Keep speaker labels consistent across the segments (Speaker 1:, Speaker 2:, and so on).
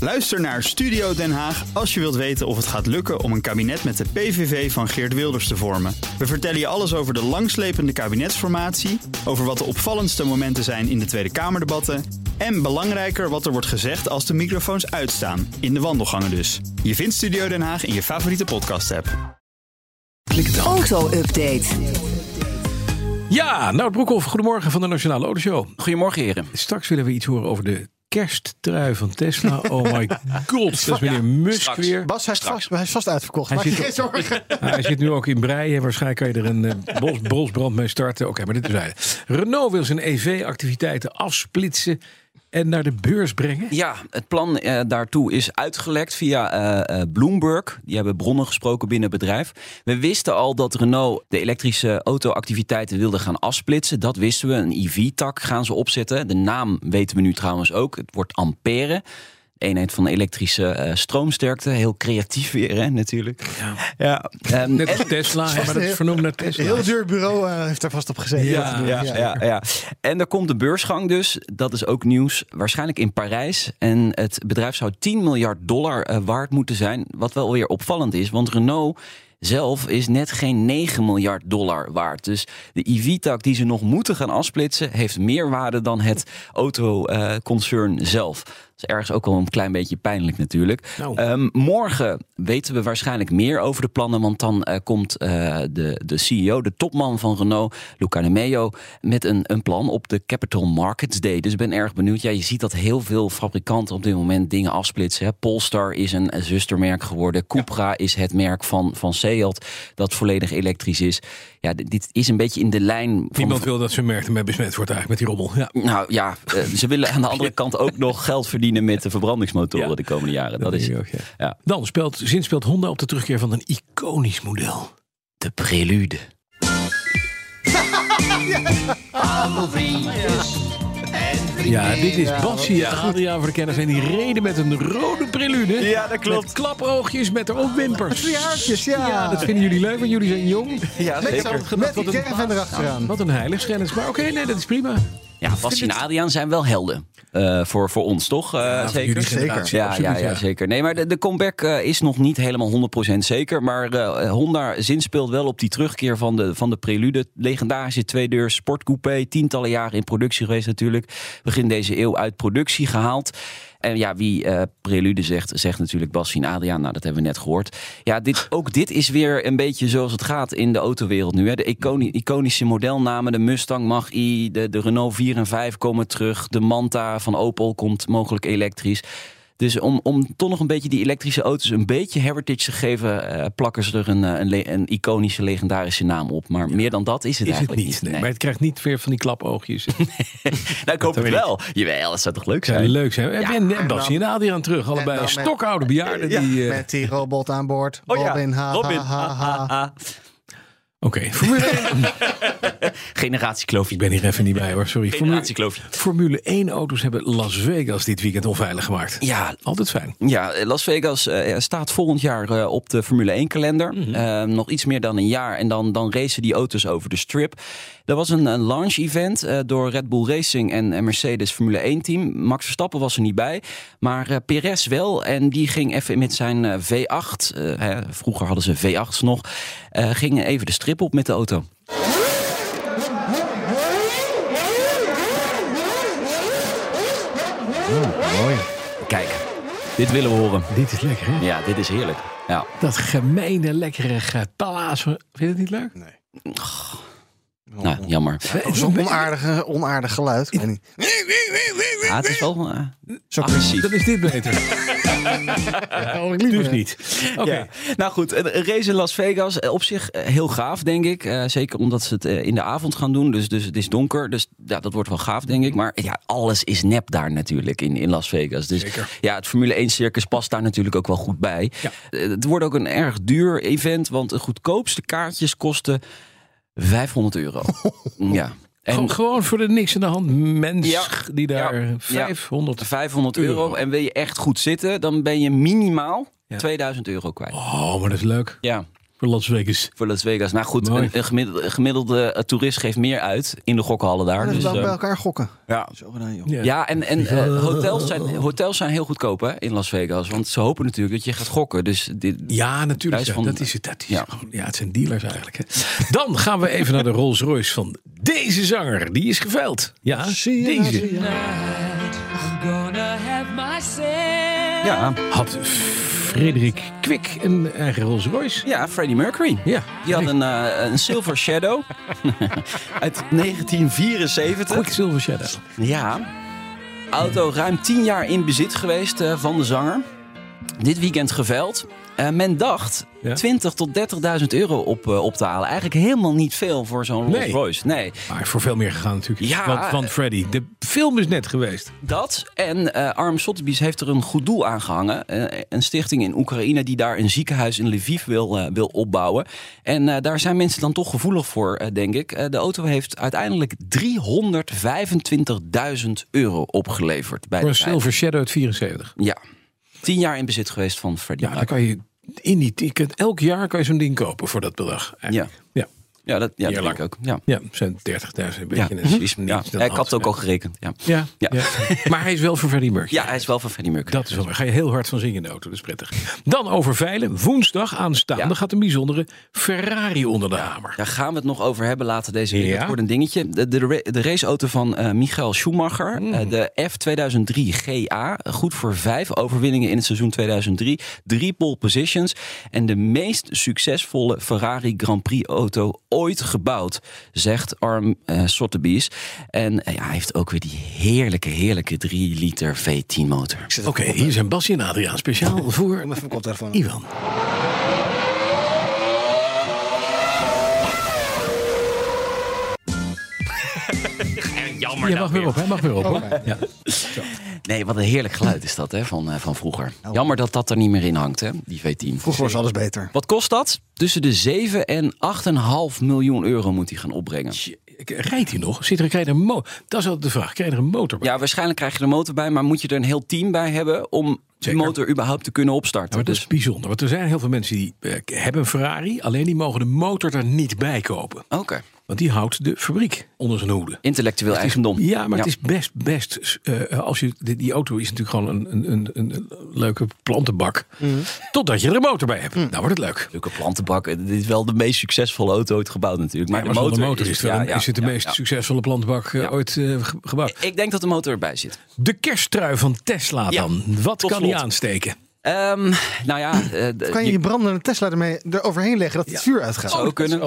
Speaker 1: Luister naar Studio Den Haag als je wilt weten of het gaat lukken om een kabinet met de PVV van Geert Wilders te vormen. We vertellen je alles over de langslepende kabinetsformatie, over wat de opvallendste momenten zijn in de Tweede Kamerdebatten en belangrijker wat er wordt gezegd als de microfoons uitstaan, in de wandelgangen dus. Je vindt Studio Den Haag in je favoriete podcast-app.
Speaker 2: Auto-update.
Speaker 3: Ja, nou Broekhoff, goedemorgen van de Nationale Autoshow.
Speaker 4: Goedemorgen, heren.
Speaker 3: Straks willen we iets horen over de kersttrui van Tesla. Oh my god, dat is meneer Musk
Speaker 4: straks.
Speaker 3: weer.
Speaker 5: Bas, hij is, vast, hij is vast uitverkocht.
Speaker 3: Hij
Speaker 5: Maak je
Speaker 3: zit
Speaker 5: geen zorgen.
Speaker 3: Nou, hij zit nu ook in Breien. Waarschijnlijk kan je er een eh, bos, bosbrand mee starten. Oké, maar dit is hij. Renault wil zijn EV-activiteiten afsplitsen en naar de beurs brengen.
Speaker 4: Ja, het plan eh, daartoe is uitgelekt via eh, eh, Bloomberg. Die hebben bronnen gesproken binnen het bedrijf. We wisten al dat Renault de elektrische autoactiviteiten wilde gaan afsplitsen. Dat wisten we. Een EV-tak gaan ze opzetten. De naam weten we nu trouwens ook. Het wordt Ampère. De eenheid van elektrische eh, stroomsterkte. Heel creatief weer, hè, natuurlijk. Ja. Ehm,
Speaker 3: Net als Tesla, hè, maar dat is vernoemd naar Tesla.
Speaker 5: Een heel duur bureau eh, heeft daar vast op gezeten.
Speaker 3: Ja,
Speaker 5: Dat te doen.
Speaker 4: ja, ja, ja. En er komt de beursgang dus. Dat is ook nieuws. Waarschijnlijk in Parijs. En het bedrijf zou 10 miljard dollar eh, waard moeten zijn. Wat wel weer opvallend is. Want Renault zelf is net geen 9 miljard dollar waard. Dus de EV-tak die ze nog moeten gaan afsplitsen... heeft meer waarde dan het autoconcern zelf. Dat is ergens ook wel een klein beetje pijnlijk natuurlijk.
Speaker 3: Nou.
Speaker 4: Ehm, morgen weten we waarschijnlijk meer over de plannen. Want dan eh, komt eh, de, de CEO, de topman van Renault, Luca de Meo, met een, een plan op de Capital Markets Day. Dus ik ben erg benieuwd. Ja, je ziet dat heel veel fabrikanten op dit moment dingen afsplitsen. Hè. Polestar is een eh, zustermerk geworden. Cupra is het merk van, van Seat dat volledig elektrisch is. Ja, dit- dit is een beetje in de lijn van
Speaker 3: Niemand wil dat zijn merk ermee besmet wordt eigenlijk met die rommel. Ja.
Speaker 4: nou ja, eh, ze willen aan de andere kant ook nog geld verdienen met de verbrandingsmotoren
Speaker 3: Ja.
Speaker 4: de komende jaren. Dat,
Speaker 3: denk
Speaker 4: is
Speaker 3: ik ook, ja.
Speaker 4: ja.
Speaker 3: Dan speelt, zinspeelt Honda op de terugkeer van een iconisch model.
Speaker 4: de prelude.
Speaker 3: Ja, dit is Bassi en Adriaan voor de kennis. En die reden met een rode prelude.
Speaker 4: Ja, dat klopt.
Speaker 3: Met klapooogjes, met er ook wimpers.
Speaker 5: Twee haartjes, ja.
Speaker 3: Dat vinden jullie leuk, want jullie zijn jong.
Speaker 4: Ja,
Speaker 5: Met
Speaker 4: zeker.
Speaker 5: zo'n- Met die caravan erachteraan.
Speaker 3: Wat een heiligschennis. Maar oké, nee, dat is prima.
Speaker 4: Ja, Bas en Adriaan zijn wel helden eh, voor, voor ons, toch? Eh, zeker.
Speaker 3: Jullie generatie,
Speaker 4: Ja,
Speaker 3: absoluut,
Speaker 4: ja, ja, zeker. Nee, maar de, de comeback eh, is nog niet helemaal 100% zeker. Maar eh, Honda zinspeelt wel op die terugkeer van de, van de Prelude. Legendarische tweedeur sportcoupé. Tientallen jaren in productie geweest natuurlijk. Begin deze eeuw uit productie gehaald. En ja, wie eh, Prelude zegt, zegt natuurlijk Bas en Adriaan. Nou, dat hebben we net gehoord. Ja, dit, ook dit is weer een beetje zoals het gaat in de autowereld nu. Hè. De iconi- iconische modelnamen, de Mustang Mach-E, de, de Renault 4 en 5 komen terug. De Manta van Opel komt mogelijk elektrisch. Dus om, om toch nog een beetje die elektrische auto's een beetje heritage te geven, eh, plakken ze er een, eh, een, le- een iconische, legendarische naam op. Maar meer dan dat is het
Speaker 3: Is het
Speaker 4: eigenlijk
Speaker 3: niet. Nee. Maar het krijgt niet weer van die klapoogjes.
Speaker 4: Nou, ik hoop het
Speaker 3: weet ik.
Speaker 4: wel. Jawel, dat zou toch leuk
Speaker 3: Zou
Speaker 4: zijn?
Speaker 3: leuk zijn. En, en Bassi en Adriaan terug. Allebei
Speaker 5: En
Speaker 3: een
Speaker 5: dan met-
Speaker 3: stokoude bejaarden. die, eh,
Speaker 5: Met die robot aan boord.
Speaker 4: Oh ja,
Speaker 5: Robin, ha,
Speaker 4: Robin,
Speaker 5: ha, ha, ha.
Speaker 4: Ah,
Speaker 3: Oké, Formule-
Speaker 4: generatiekloofje.
Speaker 3: ik ben hier even niet bij hoor, sorry. Formule,
Speaker 4: Generatiekloofje.
Speaker 3: Formule 1 auto's hebben Las Vegas dit weekend onveilig gemaakt.
Speaker 4: Ja,
Speaker 3: Altijd fijn.
Speaker 4: Ja, Las Vegas eh, staat volgend jaar eh, op de Formule 1 kalender. Eh, nog iets meer dan een jaar. En dan, dan racen die auto's over de strip. Er was een, een launch event eh, door Red Bull Racing en, en Mercedes Formule 1 team. Max Verstappen was er niet bij. Maar eh Perez wel. En die ging even met zijn eh, V8. eh, hè, vroeger hadden ze V8's nog. eh, ging even de strip op met de auto.
Speaker 3: Mooi.
Speaker 4: Kijk, dit willen we horen.
Speaker 3: Dit is lekker hè?
Speaker 4: Ja, dit is heerlijk. Ja.
Speaker 3: Dat gemene, lekkere getalaas. Vind je het niet leuk?
Speaker 4: Nou, jammer.
Speaker 5: Zo'n onaardig, onaardig geluid. Ik weet niet.
Speaker 4: Ja, het is wel eh,
Speaker 5: Zo
Speaker 4: agressief.
Speaker 3: Dan is dit beter. dus niet. Oké.
Speaker 4: Ja. Nou goed, een race in Las Vegas. eh, Op zich eh, heel gaaf, denk ik. Eh, zeker omdat ze het eh, in de avond gaan doen. Dus, dus het is donker. Dus ja, dat wordt wel gaaf, denk ik. Maar ja, alles is nep daar natuurlijk in, in Las Vegas. Dus ja, het Formule 1 circus past daar natuurlijk ook wel goed bij. Eh, Het wordt ook een erg duur event. Want de goedkoopste kaartjes kosten 500 euro. ja.
Speaker 3: Gewoon- gewoon voor de niks in de hand mens
Speaker 4: Ja.
Speaker 3: die daar
Speaker 4: Ja.
Speaker 3: 500...
Speaker 4: 500 euro.
Speaker 3: Euro.
Speaker 4: En wil je echt goed zitten, dan ben je minimaal
Speaker 3: Ja.
Speaker 4: 2000 euro kwijt.
Speaker 3: Oh, maar dat is leuk.
Speaker 4: Ja.
Speaker 3: Voor voor Las Vegas.
Speaker 4: voor Las Vegas. Nou goed,
Speaker 3: Mooi.
Speaker 4: een, een gemiddelde, een gemiddelde eh, toerist geeft meer uit in de gokhallen daar.
Speaker 5: Dus
Speaker 4: Dus,
Speaker 5: wel
Speaker 4: eh,
Speaker 5: bij elkaar gokken.
Speaker 4: ja.
Speaker 5: Zo gedaan, joh.
Speaker 4: Ja, en, en eh, hotels, zijn, hotels zijn heel goedkoop hè, in Las Vegas. Want ze hopen natuurlijk dat je gaat gokken. Dus dit,
Speaker 3: Ja, natuurlijk.
Speaker 4: Prijs
Speaker 3: ja,
Speaker 4: van-
Speaker 3: dat is het. Dat is
Speaker 4: Ja.
Speaker 3: gewoon- ja, het zijn dealers eigenlijk. Hè. Dan gaan we even naar de Rolls Royce van deze zanger. Die is geveild. Ja, deze.
Speaker 4: ja,
Speaker 3: Had Frederik Kwik een eigen Rolls Royce?
Speaker 4: ja, Freddie Mercury.
Speaker 3: Ja.
Speaker 4: Die had een, eh, een Silver Shadow uit 1974.
Speaker 3: Quick Silver Shadow.
Speaker 4: Ja. Auto ruim 10 jaar in bezit geweest eh, van de zanger. Dit weekend geveild. Eh, men dacht
Speaker 3: Ja.
Speaker 4: 20 tot 30.000 euro op, eh, op te halen. Eigenlijk helemaal niet veel voor zo'n Rolls
Speaker 3: Nee.
Speaker 4: Royce. Nee,
Speaker 3: Maar voor veel meer gegaan natuurlijk.
Speaker 4: Ja,
Speaker 3: Want van Freddy. De film is net geweest.
Speaker 4: dat. En eh Arm Sotheby's heeft er een goed doel aan gehangen. Eh, een stichting in Oekraïne die daar een ziekenhuis in Lviv wil, eh, wil opbouwen. En eh, daar zijn mensen dan toch gevoelig voor, eh, denk ik. Eh, de auto heeft uiteindelijk 325.000 euro opgeleverd. Bij
Speaker 3: Voor een
Speaker 4: de veiling.
Speaker 3: Silver Shadow uit 74.
Speaker 4: Ja. Tien jaar in bezit geweest van Freddie.
Speaker 3: Ja, dan kan je in die ticket. Elk jaar kan je zo'n ding kopen voor dat bedrag. eigenlijk. Ja.
Speaker 4: Ja, dat, ja, dat
Speaker 3: Heerlijk.
Speaker 4: denk ik ook. Ja.
Speaker 3: Ja, het zijn 30.000 een
Speaker 4: Ja. Mhm.
Speaker 3: beetje. Dat is
Speaker 4: Ja.
Speaker 3: niks.
Speaker 4: Ik had het ook al gerekend. Ja.
Speaker 3: Ja, ja.
Speaker 4: Ja.
Speaker 3: maar hij is wel voor Freddie Mercury.
Speaker 4: ja, hij is wel van Freddie Mercury.
Speaker 3: Dat is wel. Daar ga je heel hard van zingen in de auto. Dat is prettig. Dan over veilen. Woensdag aanstaande
Speaker 4: Ja.
Speaker 3: gaat een bijzondere Ferrari onder de hamer.
Speaker 4: Daar gaan we het nog over hebben later deze week.
Speaker 3: Ja.
Speaker 4: Het wordt een dingetje. De, de, ra- de raceauto van eh Michael Schumacher, eh, de F2003 GA. Goed voor vijf overwinningen in het seizoen 2003. Drie pole positions. En de meest succesvolle Ferrari Grand Prix auto ooit gebouwd. Zegt Arm eh Sotheby's. En eh, ja, hij heeft ook weer die heerlijke, heerlijke 3 liter V10 motor.
Speaker 3: Oké, hier zijn Basje en Adriaan speciaal voor
Speaker 5: Even mijn koptelefoon. op.
Speaker 3: Ivan.
Speaker 2: Jammer
Speaker 3: Je mag weer op, hij mag
Speaker 4: Oh,
Speaker 3: weer op. hoor.
Speaker 5: Oké.
Speaker 3: Ja.
Speaker 4: Nee, wat een heerlijk geluid is dat hè, van, eh, van vroeger. Jammer dat dat er niet meer in hangt, hè, die V10.
Speaker 5: Vroeger was alles beter.
Speaker 4: Wat kost dat? Tussen de 7 en 8,5 miljoen euro moet hij gaan opbrengen.
Speaker 3: Tje, Rijdt hij nog? Zit er, krijg je er een mo dat is altijd de vraag. Krijg je er een motor bij?
Speaker 4: Ja, waarschijnlijk krijg je de motor bij, maar moet je er een heel team bij hebben om de
Speaker 3: Zeker.
Speaker 4: motor überhaupt te kunnen
Speaker 3: Ja,
Speaker 4: opstarten?
Speaker 3: maar dat is bijzonder. Want er zijn heel veel mensen die eh, hebben een Ferrari. Alleen die mogen de motor er niet bij kopen.
Speaker 4: Dus- Oké,
Speaker 3: Want die houdt de fabriek onder zijn hoede.
Speaker 4: intellectueel eigendom.
Speaker 3: Ja, maar het is best, best. eh, als je, die, die auto is natuurlijk gewoon een, een, een, een leuke plantenbak.
Speaker 4: Mhm.
Speaker 3: Totdat je er een motor bij hebt. Nou wordt het leuk.
Speaker 4: Leuke plantenbak. Dit is wel de meest succesvolle auto ooit gebouwd natuurlijk. Maar,
Speaker 3: Maar
Speaker 4: de motor,
Speaker 3: zonder motor is het, wel
Speaker 4: ja,
Speaker 3: een-
Speaker 4: ja,
Speaker 3: is het de
Speaker 4: ja,
Speaker 3: meest
Speaker 4: ja.
Speaker 3: succesvolle plantenbak eh, ooit eh, ge- gebouwd.
Speaker 4: Ik denk dat de motor erbij zit.
Speaker 3: De kersttrui van Tesla
Speaker 4: Ja,
Speaker 3: dan. Wat
Speaker 4: tot
Speaker 3: kan die
Speaker 4: slot.
Speaker 3: aansteken?
Speaker 4: Ehm, nou ja, eh, d-
Speaker 5: Kan je je brandende Tesla ermee eroverheen leggen Oh, dat het vuur uitgaat?
Speaker 4: zou kunnen.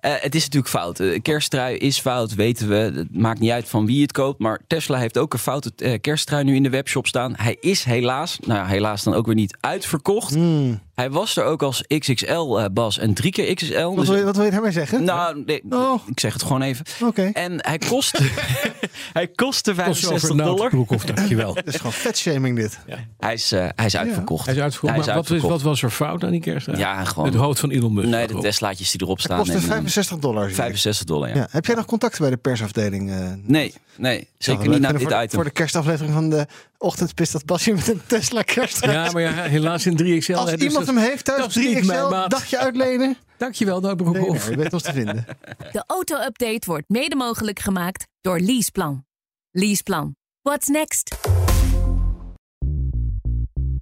Speaker 4: Eh, het is natuurlijk fout. Eh, kersttrui is fout, weten we. Het maakt niet uit van wie het koopt. Maar Tesla heeft ook een foute eh, kersttrui nu in de webshop staan. Hij is helaas, nou ja, helaas dan ook weer niet uitverkocht.
Speaker 5: Hmm.
Speaker 4: Hij was er ook als XXL, eh, Bas, en drie keer XXL.
Speaker 5: Wat
Speaker 4: Dus-
Speaker 5: wil, je, wat wil je daarmee zeggen?
Speaker 4: nou, nee,
Speaker 5: Oh.
Speaker 4: ik zeg het gewoon even.
Speaker 5: Oké.
Speaker 4: En hij kostte, hij kostte
Speaker 3: Tot zover
Speaker 4: 65
Speaker 3: Nout
Speaker 4: dollar.
Speaker 3: Broekhoff, dankjewel.
Speaker 5: Dat is gewoon vetshaming dit.
Speaker 4: Hij is, eh, hij is uitverkocht.
Speaker 3: Hij is uitverkocht.
Speaker 4: Hij is
Speaker 3: maar wat, is,
Speaker 4: uitverkocht.
Speaker 3: wat was er fout aan die kersttrui?
Speaker 4: Ja, gewoon-
Speaker 3: Het hoofd van Elon Musk.
Speaker 4: Nee,
Speaker 3: staat
Speaker 4: de
Speaker 3: erop.
Speaker 4: Teslaatjes die erop staan.
Speaker 5: Kostte
Speaker 4: en, eh,
Speaker 5: 65 dollar. zie ik.
Speaker 4: 65 dollar, ja.
Speaker 5: Ja. Heb jij nog contacten bij de persafdeling? eh?
Speaker 4: Nee, nee,
Speaker 5: Zou
Speaker 4: zeker
Speaker 5: wel
Speaker 4: niet
Speaker 5: leuk
Speaker 4: naar
Speaker 5: vinden
Speaker 4: dit
Speaker 5: voor,
Speaker 4: item.
Speaker 5: Voor de kerstaflevering van de ochtend pist dat Basje met een Tesla kerst.
Speaker 3: Ja, maar ja, helaas in 3XL.
Speaker 5: Als
Speaker 3: hè, dus
Speaker 5: iemand
Speaker 3: dat-
Speaker 5: hem heeft
Speaker 3: dat is
Speaker 5: thuis,
Speaker 3: niet
Speaker 5: 3XL,
Speaker 3: mijn maat.
Speaker 5: dagje uitlenen.
Speaker 3: Dankjewel, Nout
Speaker 5: Nee,
Speaker 3: Broekhoff.
Speaker 5: nou, je weet ons te vinden.
Speaker 6: De auto-update wordt mede mogelijk gemaakt door Leaseplan. Leaseplan. What's next?